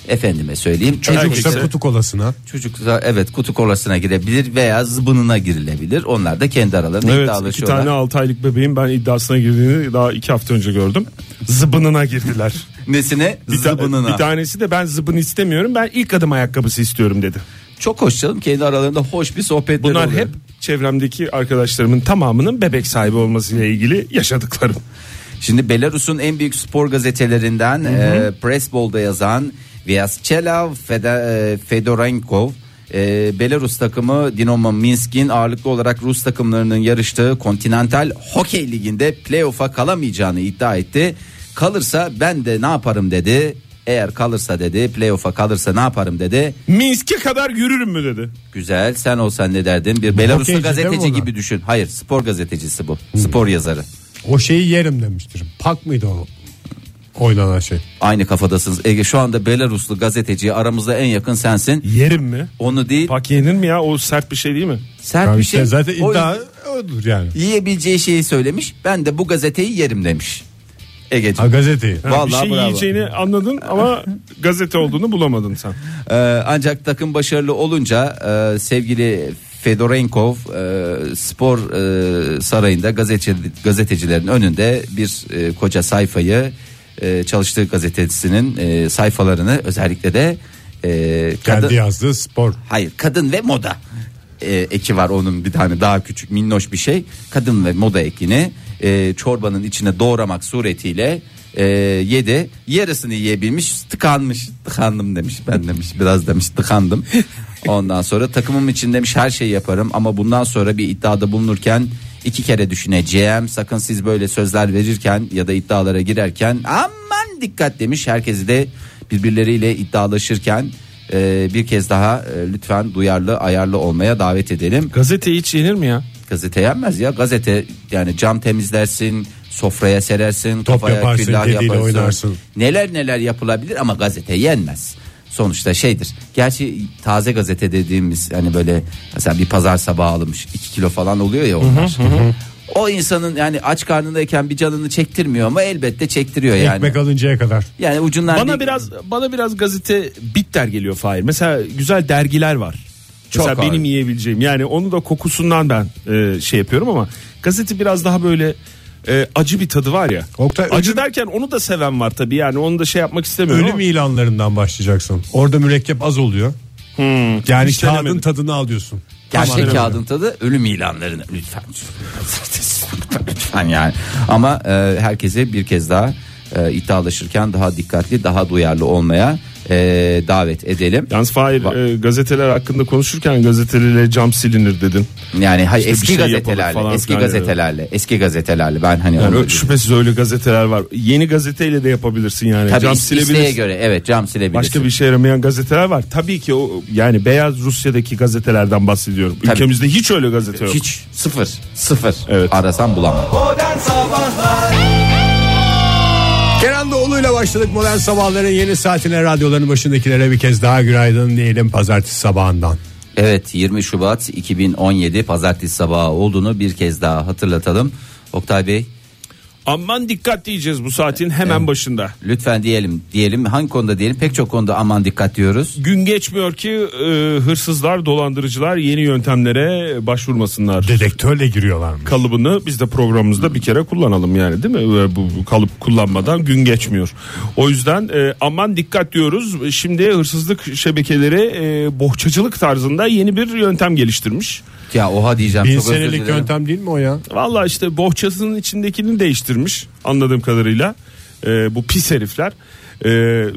[SPEAKER 2] Efendime söyleyeyim.
[SPEAKER 4] Erkekse-
[SPEAKER 3] Çocuksa kutu kolasına.
[SPEAKER 2] Çocuksa evet kutu kolasına girebilir veya zıbınına girilebilir. Onlar da kendi aralarında
[SPEAKER 4] Evet iki
[SPEAKER 2] iddialaşıyorlar.
[SPEAKER 4] tane 6 aylık bebeğin ben iddiasına girdiğini daha 2 hafta önce gördüm. Zıbınına girdiler.
[SPEAKER 2] Nesine?
[SPEAKER 4] Bir, ta-
[SPEAKER 2] zıbınına.
[SPEAKER 4] bir tanesi de ben zıbın istemiyorum ben ilk adım ayakkabısı istiyorum dedi.
[SPEAKER 2] Çok hoş canım. Kendi aralarında hoş bir sohbetler
[SPEAKER 4] Bunlar
[SPEAKER 2] oluyor.
[SPEAKER 4] hep çevremdeki arkadaşlarımın tamamının bebek sahibi olmasıyla ilgili yaşadıklarım.
[SPEAKER 2] Şimdi Belarus'un en büyük spor gazetelerinden e, Pressball'da yazan Vyacheslav Fede- e, Fedorenkov e, Belarus takımı Dinamo Minsk'in ağırlıklı olarak Rus takımlarının yarıştığı Kontinental Hokey Ligi'nde playoff'a kalamayacağını iddia etti. Kalırsa ben de ne yaparım dedi. Eğer kalırsa dedi playoff'a kalırsa ne yaparım dedi.
[SPEAKER 4] Minsk'e kadar yürürüm mü dedi.
[SPEAKER 2] Güzel sen olsan ne derdin? Bir Belaruslu
[SPEAKER 3] hokeyci değil mi
[SPEAKER 2] gazeteci
[SPEAKER 3] bunlar?
[SPEAKER 2] gibi düşün. Hayır spor gazetecisi bu. Spor yazarı.
[SPEAKER 3] O şeyi yerim demiştir. Pak mıydı o? Oynanan şey.
[SPEAKER 2] Aynı kafadasınız. Ege şu anda Belaruslu gazeteciye aramızda en yakın sensin.
[SPEAKER 4] Yerim mi?
[SPEAKER 2] Onu değil.
[SPEAKER 4] Pak yenir mi ya o sert bir şey değil mi?
[SPEAKER 2] sert
[SPEAKER 3] Yani
[SPEAKER 2] bir
[SPEAKER 3] işte
[SPEAKER 2] şey.
[SPEAKER 3] zaten
[SPEAKER 2] O
[SPEAKER 3] iddia odur yani.
[SPEAKER 2] yiyebileceği şeyi söylemiş. Ben de bu gazeteyi yerim demiş.
[SPEAKER 3] Ha
[SPEAKER 2] Egeciğim.
[SPEAKER 3] gazeteyi.
[SPEAKER 4] Ha, bir
[SPEAKER 2] Vallahi
[SPEAKER 4] şey
[SPEAKER 2] bravo.
[SPEAKER 4] yiyeceğini anladın ama gazete olduğunu bulamadın sen.
[SPEAKER 2] Ee, ancak takım başarılı olunca e, sevgili Fedorenkov e, spor e, sarayında gazete, gazetecilerin önünde bir e, koca sayfayı e, çalıştığı gazetesinin e, sayfalarını özellikle de e,
[SPEAKER 3] Kendi
[SPEAKER 2] kadın-
[SPEAKER 3] yazdığı spor.
[SPEAKER 2] Hayır kadın ve moda e, eki var onun bir tane daha küçük minnoş bir şey. Kadın ve moda ekini e, çorbanın içine doğramak suretiyle e, yedi. Yarısını yiyebilmiş tıkanmış. Tıkandım demiş ben demiş biraz demiş tıkandım. Ondan sonra takımım için demiş her şeyi yaparım ama bundan sonra bir iddiada bulunurken iki kere düşüneceğim. Sakın siz böyle sözler verirken ya da iddialara girerken aman dikkat demiş. Herkesi de birbirleriyle iddialaşırken ee, bir kez daha e, lütfen duyarlı ayarlı olmaya davet edelim.
[SPEAKER 4] Gazete hiç yenir mi ya?
[SPEAKER 2] Gazete yenmez ya gazete yani cam temizlersin sofraya serersin kafaya
[SPEAKER 3] yaparsın,
[SPEAKER 2] küllah
[SPEAKER 3] kediyle
[SPEAKER 2] yaparsın.
[SPEAKER 3] oynarsın.
[SPEAKER 2] Neler neler yapılabilir ama gazete yenmez. Sonuçta şeydir. Gerçi taze gazete dediğimiz hani böyle mesela bir pazar sabahı alınmış 2 kilo falan oluyor ya onlar. O insanın yani aç karnındayken bir canını çektirmiyor ama elbette çektiriyor yani.
[SPEAKER 3] Ekmek alıncaya kadar.
[SPEAKER 2] Yani ucundan
[SPEAKER 4] Bana
[SPEAKER 2] değil-
[SPEAKER 4] biraz bana biraz gazete bitter geliyor Fahir. Mesela güzel dergiler var.
[SPEAKER 2] Çok
[SPEAKER 4] Mesela
[SPEAKER 2] abi.
[SPEAKER 4] benim yiyebileceğim yani onu da kokusundan ben e, şey yapıyorum ama gazete biraz daha böyle e, acı bir tadı var ya.
[SPEAKER 3] Oktay,
[SPEAKER 4] acı
[SPEAKER 3] ölüm-
[SPEAKER 4] derken onu da seven var tabii yani onu da şey yapmak istemiyorum.
[SPEAKER 3] Ölüm
[SPEAKER 4] ama-
[SPEAKER 3] ilanlarından başlayacaksın. Orada mürekkep az oluyor. Yani
[SPEAKER 4] Hiç
[SPEAKER 3] kağıdın
[SPEAKER 4] denemedim.
[SPEAKER 3] tadını alıyorsun.
[SPEAKER 2] Hmm, Gerçek
[SPEAKER 3] Tamam.
[SPEAKER 2] kağıdın tadı ölüm ilanlarını lütfen. lütfen yani. Ama e, herkese bir kez daha e, iddialaşırken daha dikkatli, daha duyarlı olmaya e, davet edelim.
[SPEAKER 4] Yalnız Fahir
[SPEAKER 2] Va-
[SPEAKER 4] e, gazeteler hakkında konuşurken gazeteleriyle cam silinir dedin.
[SPEAKER 2] Yani hay
[SPEAKER 4] İşte bir
[SPEAKER 2] eski
[SPEAKER 4] şey yapalım
[SPEAKER 2] gazetelerle,
[SPEAKER 4] falan
[SPEAKER 2] eski
[SPEAKER 4] filan yani.
[SPEAKER 2] gazetelerle, eski gazetelerle ben hani
[SPEAKER 4] Yani
[SPEAKER 2] onu
[SPEAKER 4] ö- şüphesiz öyle gazeteler var. Yeni gazeteyle de yapabilirsin yani.
[SPEAKER 2] Tabii
[SPEAKER 4] cam
[SPEAKER 2] is- isteğe
[SPEAKER 4] silebilirsin.
[SPEAKER 2] göre evet cam silebilirsin.
[SPEAKER 4] Başka bir şey işe yaramayan gazeteler var. Tabii ki o yani beyaz Rusya'daki gazetelerden bahsediyorum.
[SPEAKER 2] Tabii.
[SPEAKER 4] Ülkemizde hiç öyle gazete yok.
[SPEAKER 2] hiç sıfır sıfır
[SPEAKER 4] Evet.
[SPEAKER 2] arasan bulamam.
[SPEAKER 3] Kenan Doğulu'yla başladık modern sabahların yeni saatine radyoların başındakilere bir kez daha günaydın diyelim pazartesi sabahından.
[SPEAKER 2] Evet 20 Şubat 2017 pazartesi sabahı olduğunu bir kez daha hatırlatalım. Oktay Bey
[SPEAKER 4] Aman dikkat diyeceğiz bu saatin hemen başında.
[SPEAKER 2] Lütfen diyelim diyelim hangi konuda diyelim pek çok konuda aman dikkat diyoruz.
[SPEAKER 4] Gün geçmiyor ki e, hırsızlar, dolandırıcılar yeni yöntemlere başvurmasınlar.
[SPEAKER 3] Dedektörle giriyorlar
[SPEAKER 4] kalıbını biz de programımızda bir kere kullanalım yani değil mi? Ee, Bu, bu kalıp kullanmadan gün geçmiyor. O yüzden e, aman dikkat diyoruz. Şimdi hırsızlık şebekeleri e, bohçacılık tarzında yeni bir yöntem geliştirmiş.
[SPEAKER 2] Ya oha diyeceğim
[SPEAKER 3] Bin
[SPEAKER 2] çok özür dilerim.
[SPEAKER 3] senelik yöntem değil mi o ya?
[SPEAKER 4] Valla işte bohçasının içindekini değiştirmiş anladığım kadarıyla. E, bu pis herifler. E,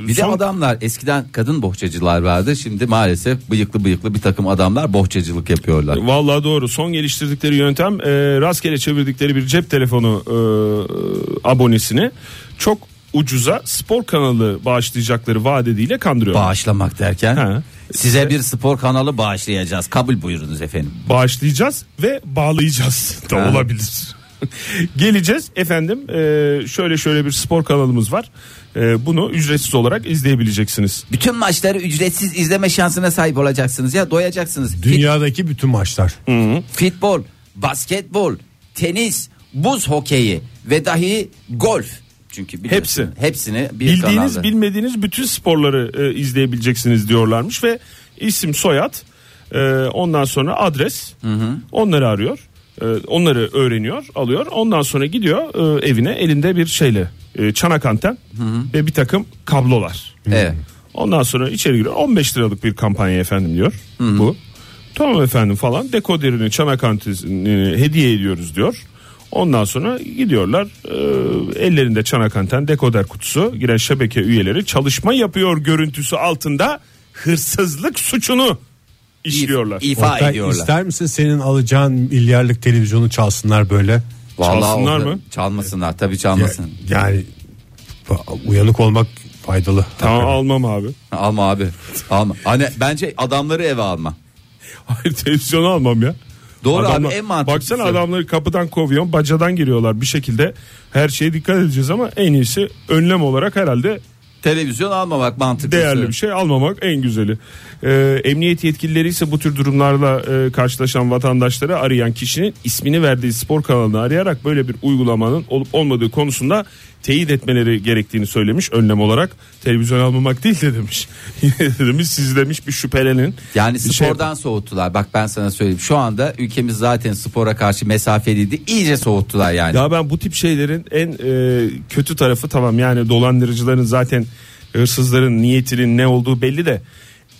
[SPEAKER 2] Bir de
[SPEAKER 4] son-
[SPEAKER 2] adamlar eskiden kadın bohçacılar vardı. Şimdi maalesef bıyıklı bıyıklı bir takım adamlar bohçacılık yapıyorlar.
[SPEAKER 4] Vallahi doğru. Son geliştirdikleri yöntem e, rastgele çevirdikleri bir cep telefonu e, abonesini çok ucuza spor kanalı bağışlayacakları vadediyle kandırıyor.
[SPEAKER 2] Bağışlamak derken
[SPEAKER 4] Ha.
[SPEAKER 2] size bir spor kanalı bağışlayacağız. Kabul buyurunuz efendim.
[SPEAKER 4] Bağışlayacağız ve bağlayacağız da
[SPEAKER 2] Ha.
[SPEAKER 4] olabilir. Geleceğiz efendim e, şöyle şöyle bir spor kanalımız var. E, bunu ücretsiz olarak izleyebileceksiniz.
[SPEAKER 2] Bütün maçları ücretsiz izleme şansına sahip olacaksınız ya doyacaksınız. Fit-
[SPEAKER 3] Dünyadaki bütün maçlar.
[SPEAKER 2] Hmm. futbol, basketbol, tenis, buz hokeyi ve dahi golf Çünkü biliyorsun,
[SPEAKER 4] Hepsi.
[SPEAKER 2] hepsini bir
[SPEAKER 4] Bildiğiniz
[SPEAKER 2] kanalda.
[SPEAKER 4] bilmediğiniz bütün sporları e, izleyebileceksiniz diyorlarmış ve isim soyad e, ondan sonra adres onları arıyor. e, onları öğreniyor alıyor ondan sonra gidiyor e, evine elinde bir şeyle e, çanak anten ve bir takım kablolar.
[SPEAKER 2] Evet.
[SPEAKER 4] Ondan sonra içeri giriyor 15 liralık bir kampanya efendim diyor bu. Tamam efendim falan dekoderini çanak antenini hediye ediyoruz diyor. Ondan sonra gidiyorlar e, ellerinde çanak anten dekoder kutusu giren şebeke üyeleri çalışma yapıyor görüntüsü altında hırsızlık suçunu işliyorlar.
[SPEAKER 2] İf- ifa
[SPEAKER 3] Oktay,
[SPEAKER 2] ediyorlar.
[SPEAKER 3] İster misin senin alacağın milyarlık televizyonu çalsınlar böyle?
[SPEAKER 2] Vallahi
[SPEAKER 4] Çalsınlar
[SPEAKER 2] orada-
[SPEAKER 4] mı?
[SPEAKER 2] Çalmasınlar tabii çalmasın.
[SPEAKER 3] Yani ba- uyanık olmak faydalı.
[SPEAKER 4] Tamam almam abi.
[SPEAKER 2] alma abi. Alma. Hani bence adamları eve alma.
[SPEAKER 4] Hayır televizyonu almam ya.
[SPEAKER 2] Doğru abi, en mantıklısı.
[SPEAKER 4] Baksana adamları kapıdan kovuyor bacadan giriyorlar bir şekilde her şeye dikkat edeceğiz ama en iyisi önlem olarak herhalde
[SPEAKER 2] Televizyon almamak mantıklı.
[SPEAKER 4] değerli bir şey almamak en güzeli. Ee, emniyet yetkilileri ise bu tür durumlarla e, karşılaşan vatandaşları arayan kişinin ismini verdiği spor kanalını arayarak böyle bir uygulamanın olup olmadığı konusunda teyit etmeleri gerektiğini söylemiş önlem olarak televizyon almamak değil de demiş. demiş siz demiş bir şüphelenin.
[SPEAKER 2] Yani
[SPEAKER 4] bir şey
[SPEAKER 2] spordan soğuttular. Bak ben sana söyleyeyim. Şu anda ülkemiz zaten spora karşı mesafeliydi. İyice soğuttular yani.
[SPEAKER 4] Ya ben bu tip şeylerin en e, kötü tarafı tamam yani dolandırıcıların zaten hırsızların niyetinin ne olduğu belli de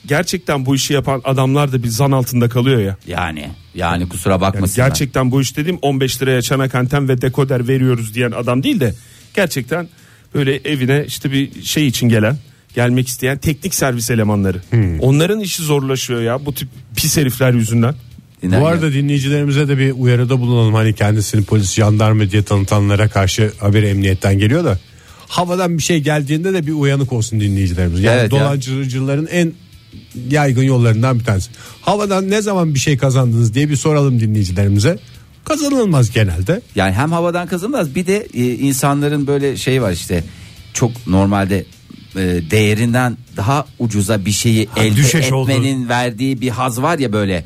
[SPEAKER 4] gerçekten bu işi yapan adamlar da bir zan altında kalıyor ya.
[SPEAKER 2] Yani yani kusura
[SPEAKER 4] Yani
[SPEAKER 2] bakmasınlar.
[SPEAKER 4] gerçekten bu iş dediğim 15 liraya çanak anten ve dekoder veriyoruz diyen adam değil de gerçekten böyle evine işte bir şey için gelen gelmek isteyen teknik servis elemanları. Onların işi zorlaşıyor ya bu tip pis herifler yüzünden.
[SPEAKER 2] İnan
[SPEAKER 3] Bu
[SPEAKER 2] ya.
[SPEAKER 3] arada dinleyicilerimize de bir uyarıda bulunalım. Hani kendisini polis, jandarma diye tanıtanlara karşı haber emniyetten geliyor da. Havadan bir şey geldiğinde de bir uyanık olsun dinleyicilerimiz. Yani
[SPEAKER 2] Evet ya.
[SPEAKER 3] dolandırıcıların en yaygın yollarından bir tanesi. Havadan ne zaman bir şey kazandınız diye bir soralım dinleyicilerimize. Kazanılmaz genelde.
[SPEAKER 2] Yani hem havadan kazanılmaz bir de e, insanların böyle şey var işte çok normalde e, değerinden daha ucuza bir şeyi elde
[SPEAKER 3] düşeş
[SPEAKER 2] etmenin verdiği bir haz var ya böyle.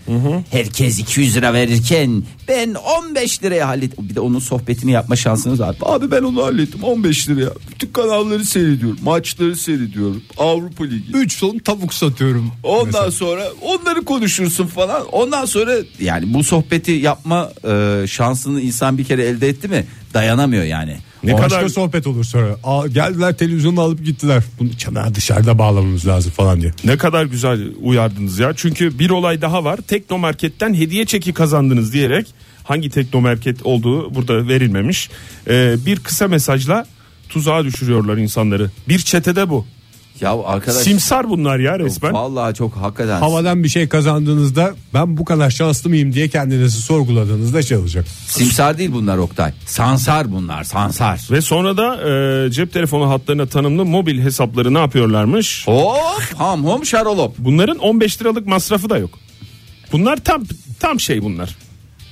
[SPEAKER 2] Herkes 200 lira verirken ben 15 liraya hallet. Bir de onun sohbetini yapma şansınız var. Abi ben onu hallettim 15 liraya. Bütün kanalları seyrediyorum. Maçları seyrediyorum. Avrupa Ligi.
[SPEAKER 3] 3 ton tavuk satıyorum.
[SPEAKER 2] Ondan sonra onları konuşursun falan. Ondan sonra yani bu sohbeti yapma e, şansını insan bir kere elde etti mi dayanamıyor yani.
[SPEAKER 4] Ne
[SPEAKER 3] Ne Başka
[SPEAKER 4] kadar-
[SPEAKER 3] sohbet olur sonra. Aa, geldiler televizyonu alıp gittiler. Bunu çanağı dışarıda bağlamamız lazım falan diye.
[SPEAKER 4] Ne kadar güzel uyardınız ya. Çünkü bir olay daha var. Teknomarket'ten hediye çeki kazandınız diyerek hangi teknomarket olduğu burada verilmemiş. Ee, bir kısa mesajla tuzağa düşürüyorlar insanları. Bir çetede bu.
[SPEAKER 2] Ya arkadaş
[SPEAKER 4] Simsar bunlar ya resmen.
[SPEAKER 2] vallahi çok hakikaten.
[SPEAKER 3] Havadan bir şey kazandığınızda ben bu kadar şanslı mıyım diye kendinizi sorguladığınızda şey olacak.
[SPEAKER 2] Simsar değil bunlar Oktay. Sansar bunlar, sansar.
[SPEAKER 4] Ve sonra da e, cep telefonu hatlarına tanımlı mobil hesapları ne yapıyorlarmış?
[SPEAKER 2] Hop, ham hom şarolop.
[SPEAKER 4] Bunların 15 liralık masrafı da yok. Bunlar tam tam şey bunlar.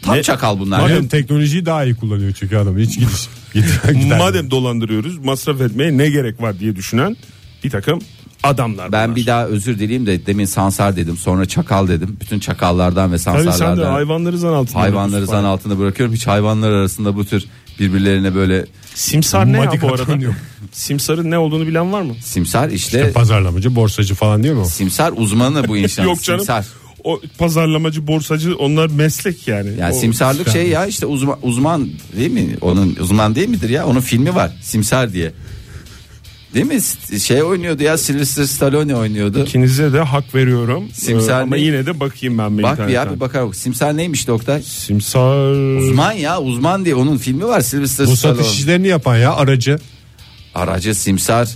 [SPEAKER 2] Tam
[SPEAKER 4] Ne-
[SPEAKER 2] çakal bunlar.
[SPEAKER 3] Madem teknolojiyi daha iyi kullanıyor çünkü adam hiç gidiş. gider- gider.
[SPEAKER 4] Madem dolandırıyoruz masraf etmeye ne gerek var diye düşünen bir takım adamlar.
[SPEAKER 2] Ben
[SPEAKER 4] bunlar.
[SPEAKER 2] bir daha özür dileyim de demin sansar dedim, sonra çakal dedim. Bütün çakallardan ve
[SPEAKER 4] Tabii sen de
[SPEAKER 2] sansarlardan
[SPEAKER 4] hayvanları zan altında.
[SPEAKER 2] hayvanları zan altında bırakıyorum. Hiç hayvanlar arasında bu tür birbirlerine böyle
[SPEAKER 4] Simsar ne ya bu
[SPEAKER 3] Madikattan
[SPEAKER 4] arada?
[SPEAKER 3] yok.
[SPEAKER 4] Simsarın ne olduğunu bilen var mı?
[SPEAKER 2] simsar işte,
[SPEAKER 3] İşte pazarlamacı, borsacı falan diyor mu?
[SPEAKER 2] simsar uzmanı bu insan.
[SPEAKER 4] Yok canım.
[SPEAKER 2] Simsar.
[SPEAKER 4] O pazarlamacı, borsacı onlar meslek yani.
[SPEAKER 2] Yani
[SPEAKER 4] O-
[SPEAKER 2] simsarlık şey ya işte uzman, uzman değil mi? Onun uzman değil midir ya? Onun filmi var. Simsar diye. Değil mi? S- Şey oynuyordu ya Sylvester Stallone oynuyordu.
[SPEAKER 4] İkinize de hak veriyorum.
[SPEAKER 2] Simsar
[SPEAKER 4] Ee, ama
[SPEAKER 2] ne?
[SPEAKER 4] yine de bakayım ben bir
[SPEAKER 2] Bak bir
[SPEAKER 4] internetten.
[SPEAKER 2] abi bakar bak. Simsar neymiş doktor?
[SPEAKER 4] Simsar.
[SPEAKER 2] Uzman ya uzman diye onun filmi var Sylvester
[SPEAKER 3] Bu
[SPEAKER 2] Stallone.
[SPEAKER 3] satış işlerini yapan ya aracı.
[SPEAKER 2] Aracı simsar.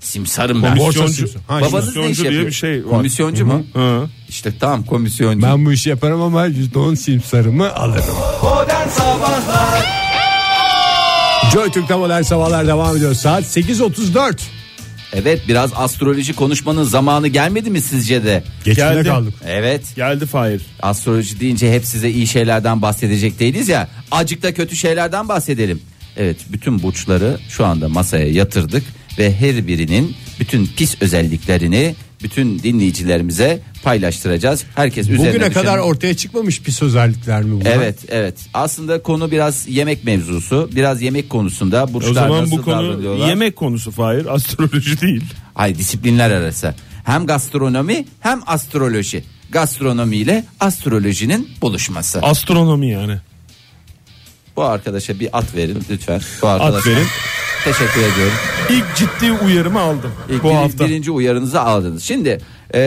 [SPEAKER 2] Simsarım ben.
[SPEAKER 3] Komisyon-
[SPEAKER 4] Komisyoncu.
[SPEAKER 3] Ha,
[SPEAKER 2] Babanız ne iş
[SPEAKER 4] komisyoncu
[SPEAKER 2] yapıyor?
[SPEAKER 4] diye bir şey var.
[SPEAKER 2] Komisyoncu mu?
[SPEAKER 4] Hı.
[SPEAKER 2] İşte tam komisyoncu.
[SPEAKER 3] Ben bu işi yaparım ama %10 simsarımı alırım. Joy Türk'te modern sabahlar devam ediyor. Saat 8.34.
[SPEAKER 2] Evet biraz astroloji konuşmanın zamanı gelmedi mi sizce de?
[SPEAKER 3] Geçimde
[SPEAKER 4] Geldi.
[SPEAKER 3] kaldık.
[SPEAKER 2] Evet.
[SPEAKER 4] Geldi Fahir.
[SPEAKER 2] astroloji deyince hep size iyi şeylerden bahsedecek değiliz ya. Acık da kötü şeylerden bahsedelim. Evet bütün burçları şu anda masaya yatırdık ve her birinin bütün pis özelliklerini bütün dinleyicilerimize paylaştıracağız. Herkes üzerine
[SPEAKER 3] Bugüne
[SPEAKER 4] şey
[SPEAKER 2] düşen-
[SPEAKER 3] kadar ortaya çıkmamış pis özellikler mi bunlar?
[SPEAKER 2] Evet evet aslında konu biraz yemek mevzusu biraz yemek konusunda
[SPEAKER 4] O
[SPEAKER 2] burçlar
[SPEAKER 4] zaman
[SPEAKER 2] nasıl
[SPEAKER 4] bu konu
[SPEAKER 2] davranıyorlar?
[SPEAKER 4] yemek konusu Fahir astroloji değil.
[SPEAKER 2] Hayır disiplinler arası hem gastronomi hem astroloji gastronomi ile astrolojinin buluşması.
[SPEAKER 4] Astronomi yani.
[SPEAKER 2] Bu arkadaşa bir at verin lütfen. Bu
[SPEAKER 4] At
[SPEAKER 2] arkadaşa.
[SPEAKER 4] verin.
[SPEAKER 2] Teşekkür ediyorum.
[SPEAKER 4] İlk ciddi uyarımı aldım
[SPEAKER 2] İlk
[SPEAKER 4] bu
[SPEAKER 2] bir-
[SPEAKER 4] hafta.
[SPEAKER 2] Birinci uyarınızı aldınız. Şimdi e,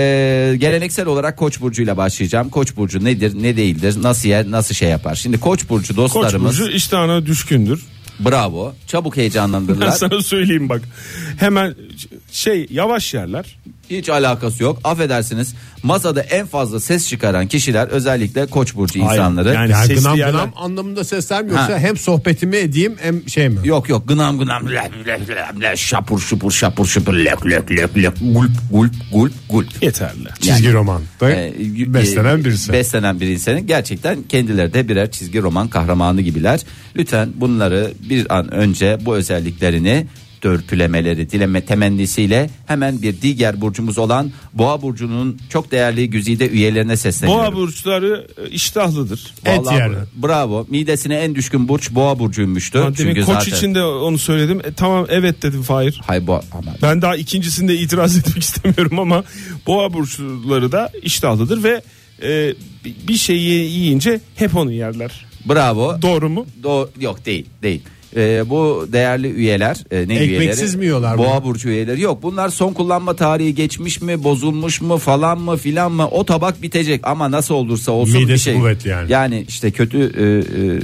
[SPEAKER 2] geleneksel olarak Koç burcuyla başlayacağım. Koç burcu nedir, ne değildir, nasıl yer, nasıl şey yapar? Şimdi Koç burcu
[SPEAKER 4] Koç
[SPEAKER 2] dostlarımız
[SPEAKER 4] burcu iştahına düşkündür.
[SPEAKER 2] bravo. Çabuk
[SPEAKER 4] Ben
[SPEAKER 2] heyecanlandırırlar.
[SPEAKER 4] sana söyleyeyim bak. Hemen şey yavaş yerler.
[SPEAKER 2] Hiç alakası yok. Affedersiniz. Masada en fazla ses çıkaran kişiler özellikle Koç burcu
[SPEAKER 4] Hayır,
[SPEAKER 2] insanları.
[SPEAKER 4] yani
[SPEAKER 3] Yani
[SPEAKER 4] Sesli
[SPEAKER 3] gınam
[SPEAKER 4] yerler.
[SPEAKER 3] gınam anlamında sesler mi yoksa
[SPEAKER 2] Ha.
[SPEAKER 3] hem sohbetimi edeyim hem şey mi?
[SPEAKER 2] Yok yok gınam gınam le, le, le, le, şapur şupur şapur şupur lök lök lök lök gulp gulp gulp gulp.
[SPEAKER 4] Yeterli.
[SPEAKER 3] Çizgi roman. Da
[SPEAKER 2] E, y-
[SPEAKER 3] beslenen
[SPEAKER 2] e,
[SPEAKER 3] birisi.
[SPEAKER 2] Beslenen bir insanın gerçekten kendileri de birer çizgi roman kahramanı gibiler. Lütfen bunları bir an önce bu özelliklerini dörpülemeleri dileme temennisiyle hemen bir diğer burcumuz olan Boğa burcunun çok değerli güzide üyelerine sesleniyorum.
[SPEAKER 4] Boğa burçları e, iştahlıdır.
[SPEAKER 3] Et
[SPEAKER 2] Vallahi
[SPEAKER 3] yerler.
[SPEAKER 2] Bravo. Midesine en düşkün burç Boğa burcuymuştu.
[SPEAKER 4] Ben demin
[SPEAKER 2] Çünkü
[SPEAKER 4] koç
[SPEAKER 2] zaten
[SPEAKER 4] için de onu söyledim. E, tamam evet dedim Fahir.
[SPEAKER 2] Hay boğa ama
[SPEAKER 4] Ben daha ikincisinde itiraz etmek istemiyorum ama boğa burçları da iştahlıdır ve e, bi- bir şeyi yiyince hep onu yerler.
[SPEAKER 2] bravo.
[SPEAKER 4] Doğru mu?
[SPEAKER 2] Do- yok değil değil. Ee, bu değerli üyeler e, ne
[SPEAKER 3] Ekmeksiz
[SPEAKER 2] üyeleri?
[SPEAKER 3] mi yiyorlar
[SPEAKER 2] Boğa
[SPEAKER 3] bunu?
[SPEAKER 2] burcu üyeleri yok. Bunlar son kullanma tarihi geçmiş mi, bozulmuş mu falan mı filan mı? O tabak bitecek ama nasıl olursa olsun bir
[SPEAKER 3] Midesi
[SPEAKER 2] şey.
[SPEAKER 3] kuvvetli yani.
[SPEAKER 2] Yani işte kötü e,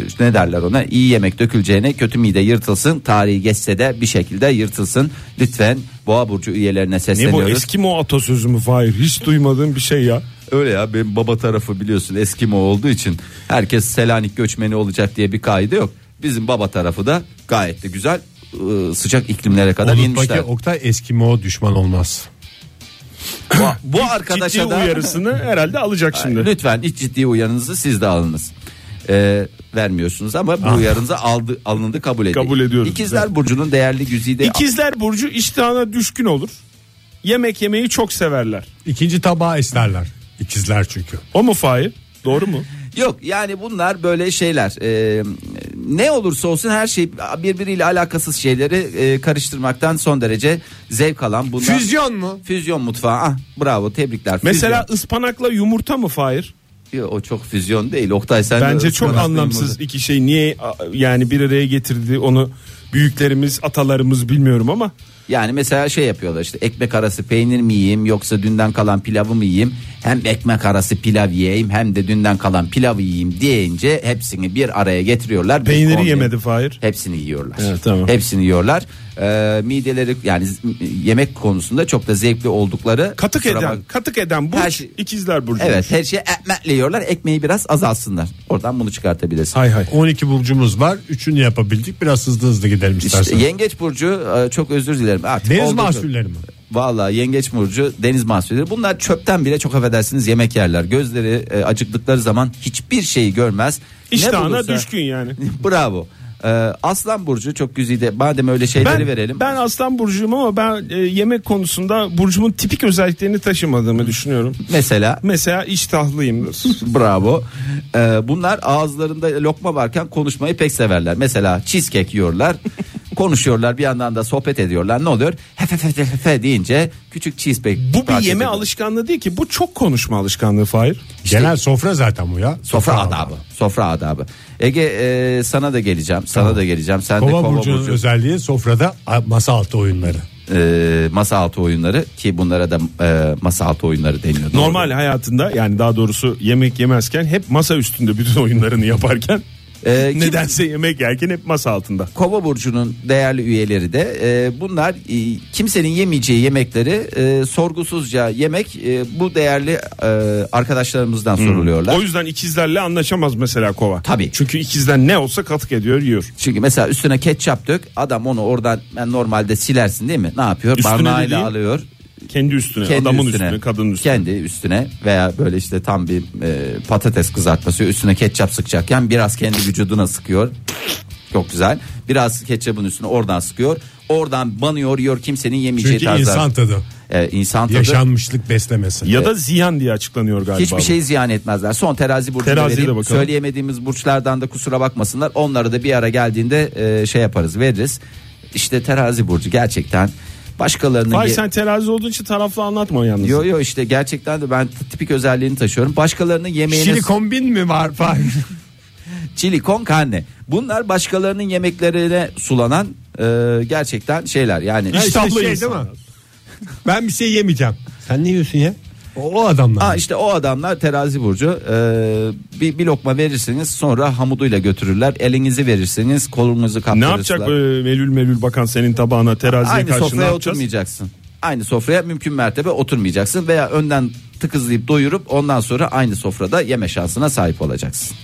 [SPEAKER 2] e, işte ne derler ona? İyi yemek döküleceğine kötü mide yırtılsın. Tarihi geçse de bir şekilde yırtılsın. Lütfen Boğa burcu üyelerine
[SPEAKER 4] Ne bu
[SPEAKER 2] sesleniyoruz.
[SPEAKER 4] eski mi o atasözü mü Fahir? Hiç duymadığım bir şey ya.
[SPEAKER 2] Öyle ya benim baba tarafı biliyorsun Eskimo olduğu için herkes Selanik göçmeni olacak diye bir kaide yok. Bizim baba tarafı da gayet de güzel ıı, sıcak iklimlere kadar
[SPEAKER 3] Unutma ki
[SPEAKER 2] inmişler.
[SPEAKER 3] Oktay Eskimo düşman olmaz.
[SPEAKER 2] Bu, bu
[SPEAKER 4] Ciddi
[SPEAKER 2] arkadaşa da
[SPEAKER 4] uyarısını herhalde alacak şimdi.
[SPEAKER 2] lütfen hiç ciddi uyarınızı siz de alınız. Ee, vermiyorsunuz ama bu
[SPEAKER 3] Ah.
[SPEAKER 2] uyarınızı aldı, alındı kabul edildi.
[SPEAKER 4] Kabul ediyoruz.
[SPEAKER 2] İkizler Burcu'nun değerli güzide
[SPEAKER 4] İkizler burcu iştahına düşkün olur. Yemek yemeyi çok severler.
[SPEAKER 3] İkinci tabağı isterler. İkizler çünkü.
[SPEAKER 4] O mu Fahir? Doğru mu?
[SPEAKER 2] Yok yani bunlar böyle şeyler. Ee, ne olursa olsun her şey birbiriyle alakasız şeyleri e, karıştırmaktan son derece zevk alan bunlar.
[SPEAKER 3] Füzyon mu?
[SPEAKER 2] Füzyon mutfağı. Ah bravo tebrikler. Füzyon.
[SPEAKER 4] Mesela ıspanakla yumurta mı Fahir?
[SPEAKER 2] Yo, o çok füzyon değil. Oktay sen de
[SPEAKER 4] Bence çok
[SPEAKER 2] ıspanaklı
[SPEAKER 4] anlamsız
[SPEAKER 2] yumurta-
[SPEAKER 4] iki şey. Niye a- yani bir araya getirdi onu büyüklerimiz, atalarımız bilmiyorum ama
[SPEAKER 2] Yani mesela şey yapıyorlar işte ekmek arası peynir mi yiyeyim yoksa dünden kalan pilavı mı yiyeyim? Hem ekmek arası pilav yiyeyim hem de dünden kalan pilavı yiyeyim deyince hepsini bir araya getiriyorlar. Bir
[SPEAKER 4] peyniri
[SPEAKER 2] kombin-
[SPEAKER 4] yemedi Fahir.
[SPEAKER 2] Hepsini yiyorlar.
[SPEAKER 4] Evet, tamam.
[SPEAKER 2] Hepsini yiyorlar. Ee, mideleri yani z- yemek konusunda çok da zevkli oldukları.
[SPEAKER 4] Katık
[SPEAKER 2] Kusura
[SPEAKER 4] eden,
[SPEAKER 2] bak-
[SPEAKER 4] katık eden burç
[SPEAKER 2] Her şey-
[SPEAKER 4] ikizler burcu.
[SPEAKER 2] Evet her şeyi ekmekle yiyorlar. Ekmeği biraz azalsınlar. Oradan bunu çıkartabilirsin.
[SPEAKER 4] Hay hay.
[SPEAKER 3] 12 burcumuz var. Üçünü yapabildik. Biraz hızlı hızlı gidelim
[SPEAKER 2] İşte
[SPEAKER 3] istersen.
[SPEAKER 2] yengeç burcu e, çok özür dilerim. Artık
[SPEAKER 3] Deniz
[SPEAKER 2] oldu-
[SPEAKER 3] mahsulleri mi?
[SPEAKER 2] Vallahi yengeç burcu deniz mahsulleri bunlar çöpten bile çok affedersiniz yemek yerler. Gözleri e, acıktıkları zaman hiçbir şeyi görmez. Ne
[SPEAKER 4] İştahına
[SPEAKER 2] bulursa-
[SPEAKER 4] düşkün yani.
[SPEAKER 2] Bravo. Ee, Aslan burcu çok güzide. Madem öyle şeyleri
[SPEAKER 4] Ben,
[SPEAKER 2] verelim.
[SPEAKER 4] ben aslan burcuyum ama ben e, yemek konusunda burcumun tipik özelliklerini taşımadığımı düşünüyorum.
[SPEAKER 2] Mesela
[SPEAKER 4] Mesela iştahlıyımdır.
[SPEAKER 2] Bravo. Ee, bunlar ağızlarında lokma varken konuşmayı pek severler. Mesela cheesecake yiyorlar. konuşuyorlar bir yandan da sohbet ediyorlar. Ne oluyor? Hefefefe deyince küçük cheesecake.
[SPEAKER 4] Bu bir
[SPEAKER 2] parçası-
[SPEAKER 4] yeme alışkanlığı değil ki. Bu çok konuşma alışkanlığı Fahir.
[SPEAKER 3] Genel sofra zaten bu ya.
[SPEAKER 2] Sofra adabı. Sofra adabı. Ege e, sana da geleceğim. Sana da geleceğim. Sen de
[SPEAKER 3] Kova
[SPEAKER 2] kova
[SPEAKER 3] burcunun
[SPEAKER 2] burcu.
[SPEAKER 3] özelliği sofrada a- masa altı oyunları.
[SPEAKER 2] e, masa altı oyunları ki bunlara da e, masa altı oyunları deniyor. Doğru.
[SPEAKER 4] Normal hayatında yani daha doğrusu yemek yemezken hep masa üstünde bütün oyunlarını yaparken
[SPEAKER 2] Ee, kim-
[SPEAKER 4] nedense yemek yerken hep masa altında.
[SPEAKER 2] Kova burcunun değerli üyeleri de e, bunlar e, kimsenin yemeyeceği yemekleri e, sorgusuzca yemek e, bu değerli e, arkadaşlarımızdan soruluyorlar.
[SPEAKER 4] O yüzden ikizlerle anlaşamaz mesela kova.
[SPEAKER 2] Tabii.
[SPEAKER 4] Çünkü ikizler ne olsa katık ediyor yiyor.
[SPEAKER 2] Çünkü mesela üstüne ketçap dök adam onu oradan ben normalde silersin değil mi? Ne yapıyor?
[SPEAKER 4] Üstüne
[SPEAKER 2] Barnağıyla
[SPEAKER 4] dediğin-
[SPEAKER 2] alıyor.
[SPEAKER 4] Kendi üstüne,
[SPEAKER 2] Kendi
[SPEAKER 4] adamın üstüne,
[SPEAKER 2] üstüne,
[SPEAKER 4] kadının üstüne.
[SPEAKER 2] Kendi üstüne veya böyle işte tam bir e, patates kızartması üstüne ketçap sıkacakken biraz kendi vücuduna sıkıyor. Çok güzel. Biraz ketçapın üstüne oradan sıkıyor. Oradan banıyor yiyor kimsenin yemeyeceği
[SPEAKER 3] Çünkü
[SPEAKER 2] tarzlar.
[SPEAKER 3] insan tadı.
[SPEAKER 2] e, insan şey tadı
[SPEAKER 3] Yaşanmışlık beslemesi.
[SPEAKER 4] Ya da ziyan diye açıklanıyor galiba.
[SPEAKER 2] hiçbir
[SPEAKER 4] bu.
[SPEAKER 2] şey ziyan etmezler. Son terazi burcunu
[SPEAKER 4] Teraziye de
[SPEAKER 2] vereyim.
[SPEAKER 4] bakalım.
[SPEAKER 2] Söyleyemediğimiz burçlardan da kusura bakmasınlar. Onları da bir ara geldiğinde e, şey yaparız, veririz. İşte terazi burcu gerçekten başkalarının
[SPEAKER 4] Fahir
[SPEAKER 2] ye-
[SPEAKER 4] sen terazi olduğun için taraflı anlatma yalnız.
[SPEAKER 2] Yo yo işte gerçekten de ben t- tipik özelliğini taşıyorum. Başkalarının yemeğine
[SPEAKER 3] Şili kombin mi var Fahir?
[SPEAKER 2] silikon karne. Bunlar başkalarının yemeklerine sulanan e, gerçekten şeyler. Yani
[SPEAKER 3] Ha, işte
[SPEAKER 4] İştahlı
[SPEAKER 3] şey değil
[SPEAKER 4] insanlar.
[SPEAKER 3] mi? Ben bir şey yemeyeceğim. Sen ne yiyorsun ya? O, o adamlar.
[SPEAKER 2] Aa, işte o adamlar terazi burcu Ee, bir, bir lokma verirsiniz sonra hamuduyla götürürler elinizi verirsiniz kolunuzu
[SPEAKER 4] Ne
[SPEAKER 2] kaptırırsınız.
[SPEAKER 4] yapacak böyle melül melül bakan senin tabağına teraziye
[SPEAKER 2] Aynı
[SPEAKER 4] karşı ne
[SPEAKER 2] sofraya
[SPEAKER 4] yapacağız?
[SPEAKER 2] oturmayacaksın. Aynı sofraya mümkün mertebe oturmayacaksın veya önden tıkızlayıp doyurup ondan sonra aynı sofrada yeme şansına sahip olacaksın.